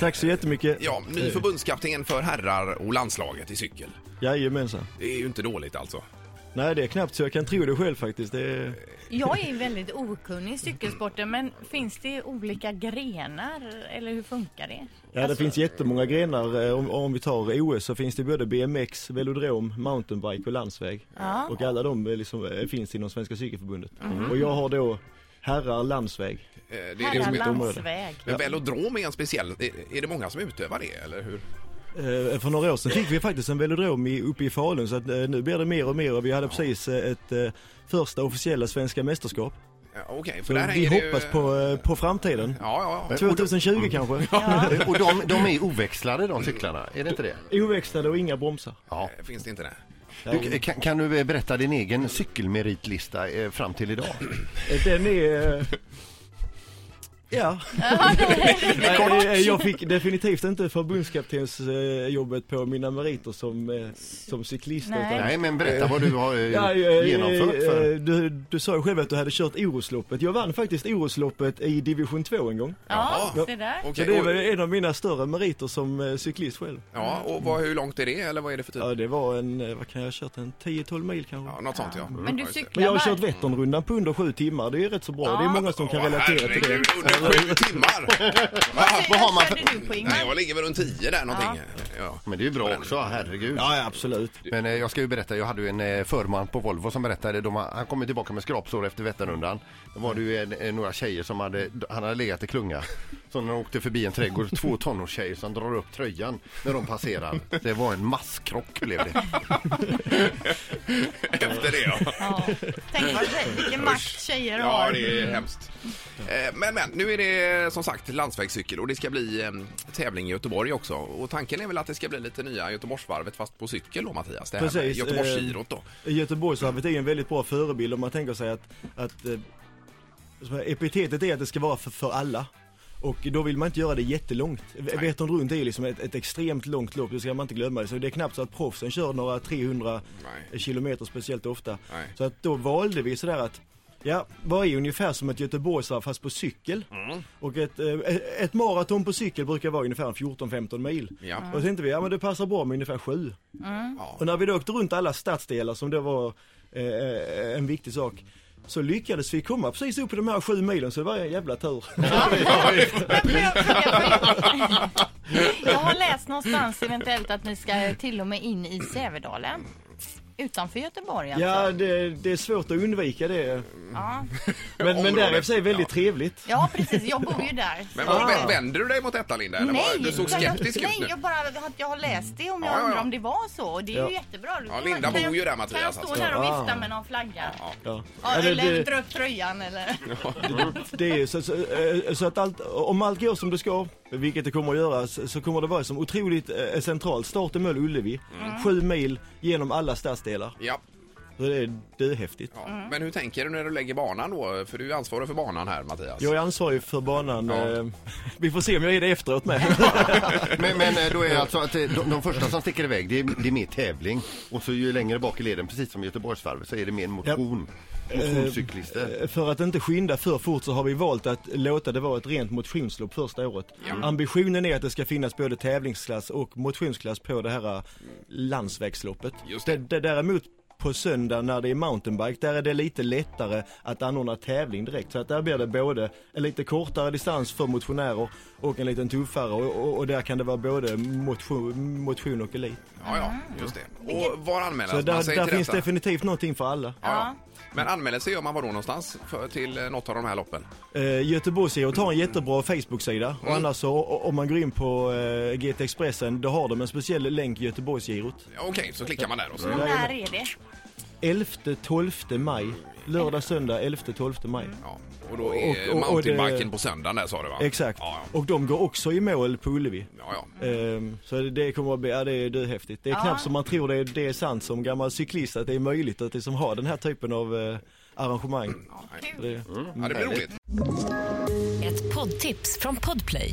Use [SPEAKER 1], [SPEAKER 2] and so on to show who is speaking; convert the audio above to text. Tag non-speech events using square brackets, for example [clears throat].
[SPEAKER 1] Tack så jättemycket.
[SPEAKER 2] Ja, ny förbundskapten för herrar och landslaget i cykel.
[SPEAKER 1] Jajamensan.
[SPEAKER 2] Det är ju inte dåligt alltså.
[SPEAKER 1] Nej, det är knappt så jag kan tro det själv faktiskt. Det är...
[SPEAKER 3] Jag är väldigt okunnig i cykelsporten, men finns det olika grenar eller hur funkar det?
[SPEAKER 1] Ja, det
[SPEAKER 2] Alltså-
[SPEAKER 1] finns jättemånga grenar. Eh, Om, om vi tar OS så finns det både BMX, velodrom, mountainbike och landsväg.
[SPEAKER 3] Ja.
[SPEAKER 1] Och alla de är liksom, eh, finns inom Svenska Cykelförbundet.
[SPEAKER 2] Mhm.
[SPEAKER 1] Och jag har då herrar landsväg.
[SPEAKER 2] Eh, Det är det
[SPEAKER 3] Herrar
[SPEAKER 2] som är
[SPEAKER 3] landsväg.
[SPEAKER 2] men velodrom är en speciell, Eh, är är det många som utövar det eller hur?
[SPEAKER 1] Eh, För några år sedan fick vi faktiskt en velodrom i, uppe i Falun så att eh, nu blir det mer och mer och vi hade precis eh, ett eh, första officiella svenska mästerskap.
[SPEAKER 2] Ja, Okej, för
[SPEAKER 1] Så
[SPEAKER 2] där
[SPEAKER 1] vi
[SPEAKER 2] hänger det ju-
[SPEAKER 1] hoppas på, eh, på framtiden.
[SPEAKER 2] Ja, ja, ja.
[SPEAKER 1] 2020 kanske.
[SPEAKER 4] Och de, de är oväxlade de cyklarna, är det inte det?
[SPEAKER 2] Mm.
[SPEAKER 1] Oväxlade och inga bromsar.
[SPEAKER 4] Ja.
[SPEAKER 2] Eh, Finns det inte det?
[SPEAKER 4] Du, kan, kan du eh, berätta din egen cykelmeritlista eh, fram till idag?
[SPEAKER 1] [clears throat] Den är... eh, Ja. Nej,
[SPEAKER 3] [laughs]
[SPEAKER 1] eh, jag fick definitivt inte förbundskaptens eh, jobbet på mina meriter som, eh, som cyklist.
[SPEAKER 3] Nej.
[SPEAKER 1] utan-
[SPEAKER 4] Nej, men berätta vad du har eh,
[SPEAKER 1] Ja, eh,
[SPEAKER 4] genomfört
[SPEAKER 1] eh,
[SPEAKER 4] för...
[SPEAKER 1] Du, du sa ju själv att du hade kört Orosloppet. Jag vann faktiskt Orosloppet i division 2 en gång.
[SPEAKER 3] Ja,
[SPEAKER 2] Jaha.
[SPEAKER 3] det där.
[SPEAKER 1] Så
[SPEAKER 2] Okej,
[SPEAKER 1] det är
[SPEAKER 2] och,
[SPEAKER 1] väl en av mina större meriter som eh, cyklist själv.
[SPEAKER 2] ja, och vad, hur långt är det eller vad är det för typ?
[SPEAKER 1] Ja, det var en, eh, vad kan jag ha kört, en 10-12 mil kanske.
[SPEAKER 2] Ja, något sånt ja. Mm.
[SPEAKER 3] Men du
[SPEAKER 2] Ja, just det.
[SPEAKER 3] cyklar
[SPEAKER 1] Men jag har
[SPEAKER 3] var-
[SPEAKER 1] kört Vätternrundan på under sju timmar, det är rätt så bra. Det är många som kan
[SPEAKER 2] Åh,
[SPEAKER 1] relatera till det.
[SPEAKER 2] herregud, Under sju timmar! Ja,
[SPEAKER 4] Vad har man för...
[SPEAKER 3] Körde du på Ingmar?
[SPEAKER 2] Nej, jag ligger väl runt tio där någonting. Ja.
[SPEAKER 4] Men det är ju bra också, herregud.
[SPEAKER 1] Ja, ja, absolut.
[SPEAKER 4] Men eh, jag ska ju berätta, jag hade ju en eh, förman på Volvo som berättade, de, har- han kom ju tillbaka med skrapsår efter Vätternrundan. Då var det ju en, eh, några tjejer som hade, han hade legat i klunga. Så när de åkte förbi en trädgård, två tonårstjejer som drar upp tröjan när de passerar. Det var en masskrock blev det.
[SPEAKER 2] Efter det ja.
[SPEAKER 3] Ja. Tänk vad tjej- vilken makt tjejer
[SPEAKER 2] Ja,
[SPEAKER 3] har.
[SPEAKER 2] det är hemskt. Eh, Men, men, nu är det som sagt landsvägscykel och det ska bli eh, tävling i Göteborg också. Och tanken är väl att det ska bli lite nya Göteborgsvarvet fast på cykel då Mattias? Det här med
[SPEAKER 1] Precis, eh,
[SPEAKER 2] Göteborgsgirot då.
[SPEAKER 1] Göteborgsvarvet är ju en väldigt bra förebild om man tänker sig att, att eh, som här, epitetet är att det ska vara för, för alla. Och då vill man inte göra det jättelångt. V- Vättern runt är ju liksom ett, ett extremt långt lopp, det ska man inte glömma. Så det är knappt så att proffsen kör några 300
[SPEAKER 2] Nej.
[SPEAKER 1] kilometer speciellt ofta.
[SPEAKER 2] Nej.
[SPEAKER 1] Så att då valde vi sådär att Ja, vad är ungefär som ett Göteborgsvarv fast på cykel?
[SPEAKER 2] Mm.
[SPEAKER 1] Och ett, eh, ett maraton på cykel brukar vara ungefär 14-15 mil.
[SPEAKER 2] Ja.
[SPEAKER 1] Och så tänkte vi, ja men det passar bra med ungefär 7.
[SPEAKER 2] Ja.
[SPEAKER 1] Och när vi då åkte runt alla stadsdelar som det var eh, en viktig sak så lyckades vi komma precis upp i de här sju milen så det var en jävla tur.
[SPEAKER 3] [laughs] Men får jag fråga, för- Jag har läst någonstans eventuellt att ni ska till och med in i Sävedalen. Utanför Göteborg alltså.
[SPEAKER 1] Ja, det, det är svårt att undvika det.
[SPEAKER 3] Ja.
[SPEAKER 1] Men, men där är det i och för sig väldigt trevligt.
[SPEAKER 3] ja, precis. Jag bor ju där.
[SPEAKER 2] Men
[SPEAKER 1] ah.
[SPEAKER 2] vad, vä- vänder du dig mot detta Linda? eller vad? du såg
[SPEAKER 3] jag-
[SPEAKER 2] skeptisk ut
[SPEAKER 3] nej,
[SPEAKER 2] nu.
[SPEAKER 3] jag bara jag har läst det om jag
[SPEAKER 2] Ja, ja,
[SPEAKER 3] undrar
[SPEAKER 2] ja.
[SPEAKER 3] om det var så. Och Det är ju
[SPEAKER 1] Ja.
[SPEAKER 3] jättebra. Då
[SPEAKER 2] Ja,
[SPEAKER 3] kan
[SPEAKER 2] Linda
[SPEAKER 3] jag- kan
[SPEAKER 2] bor ju
[SPEAKER 3] jag-
[SPEAKER 2] där, Mattias,
[SPEAKER 3] Kan jag stå
[SPEAKER 2] alltså.
[SPEAKER 3] där och
[SPEAKER 1] Ja.
[SPEAKER 3] vifta
[SPEAKER 5] Ah.
[SPEAKER 3] med någon flagga?
[SPEAKER 1] Ja.
[SPEAKER 3] Ja,
[SPEAKER 1] Ja, det,
[SPEAKER 3] eller
[SPEAKER 1] det,
[SPEAKER 3] dra upp tröjan eller?
[SPEAKER 1] det är så, så, eh, så att allt, om allt går som det ska, vilket det kommer att göra, så så kommer det vara som otroligt eh, centralt. Starten mål Ullevi, sju mil genom alla stadsdelar.
[SPEAKER 2] Ja.
[SPEAKER 1] Så det är döhäftigt.
[SPEAKER 2] Ja.
[SPEAKER 3] Mm.
[SPEAKER 2] Men hur tänker du när du lägger banan då? För du är ansvarig för banan här Mattias.
[SPEAKER 1] Jag är ansvarig för banan.
[SPEAKER 2] Ja.
[SPEAKER 1] eh, [laughs] Vi får se om jag är det efteråt med.
[SPEAKER 4] [laughs] Men, men eh, då är det alltså att eh, de, de första som sticker iväg, det är, det är mer tävling. Och så ju längre bak i leden, precis som Göteborgsvarvet, så är det mer motion. Motionscyklister.
[SPEAKER 1] [laughs] För att inte skynda för fort så har vi valt att låta det vara ett rent motionslopp första året. Ambitionen är att det ska finnas både tävlingsklass och motionsklass på det här eh, landsvägsloppet.
[SPEAKER 2] Just det.
[SPEAKER 1] det. det däremot på söndag när det är mountainbike, där är det lite lättare att anordna tävling direkt. Så att där blir det både en lite kortare distans för motionärer och en lite tuffare och, och, och där kan det vara både motion, motion och elit.
[SPEAKER 2] Ja, ja, just det.
[SPEAKER 3] Mm.
[SPEAKER 2] Och var anmäler
[SPEAKER 1] Så
[SPEAKER 2] man
[SPEAKER 1] där,
[SPEAKER 2] sig
[SPEAKER 1] där
[SPEAKER 2] till
[SPEAKER 1] finns
[SPEAKER 2] detta?
[SPEAKER 1] definitivt någonting för alla.
[SPEAKER 2] Ja, ja. Men anmäler sig gör man var då någonstans? För, till eh, något av de här loppen?
[SPEAKER 1] Eh, Göteborgsgirot har en jättebra Facebook-sida och annars så o- om man går in på eh, GT Expressen då har de en speciell länk Göteborgsgirot.
[SPEAKER 2] Ja, Okej, så klickar man där och så.
[SPEAKER 3] När är det?
[SPEAKER 1] 11-12 maj. Lördag, söndag 11-12 maj.
[SPEAKER 2] Ja. Och då är
[SPEAKER 1] Och- och- och
[SPEAKER 2] mountainbiken
[SPEAKER 1] det-
[SPEAKER 2] på söndagen där sa du va?
[SPEAKER 1] Exakt.
[SPEAKER 2] Ja, ja.
[SPEAKER 1] Och de går också i mål på Ullevi.
[SPEAKER 2] ja, ja.
[SPEAKER 1] Ehm, så det- det kommer att bli, ja det är döhäftigt. Det är
[SPEAKER 3] Ja.
[SPEAKER 1] knappt som man tror det är, det är sant som gammal cyklist att det är möjligt att liksom ha den här typen av eh, arrangemang. Så Det,
[SPEAKER 2] ja det blir roligt.
[SPEAKER 6] Ett poddtips från Podplay.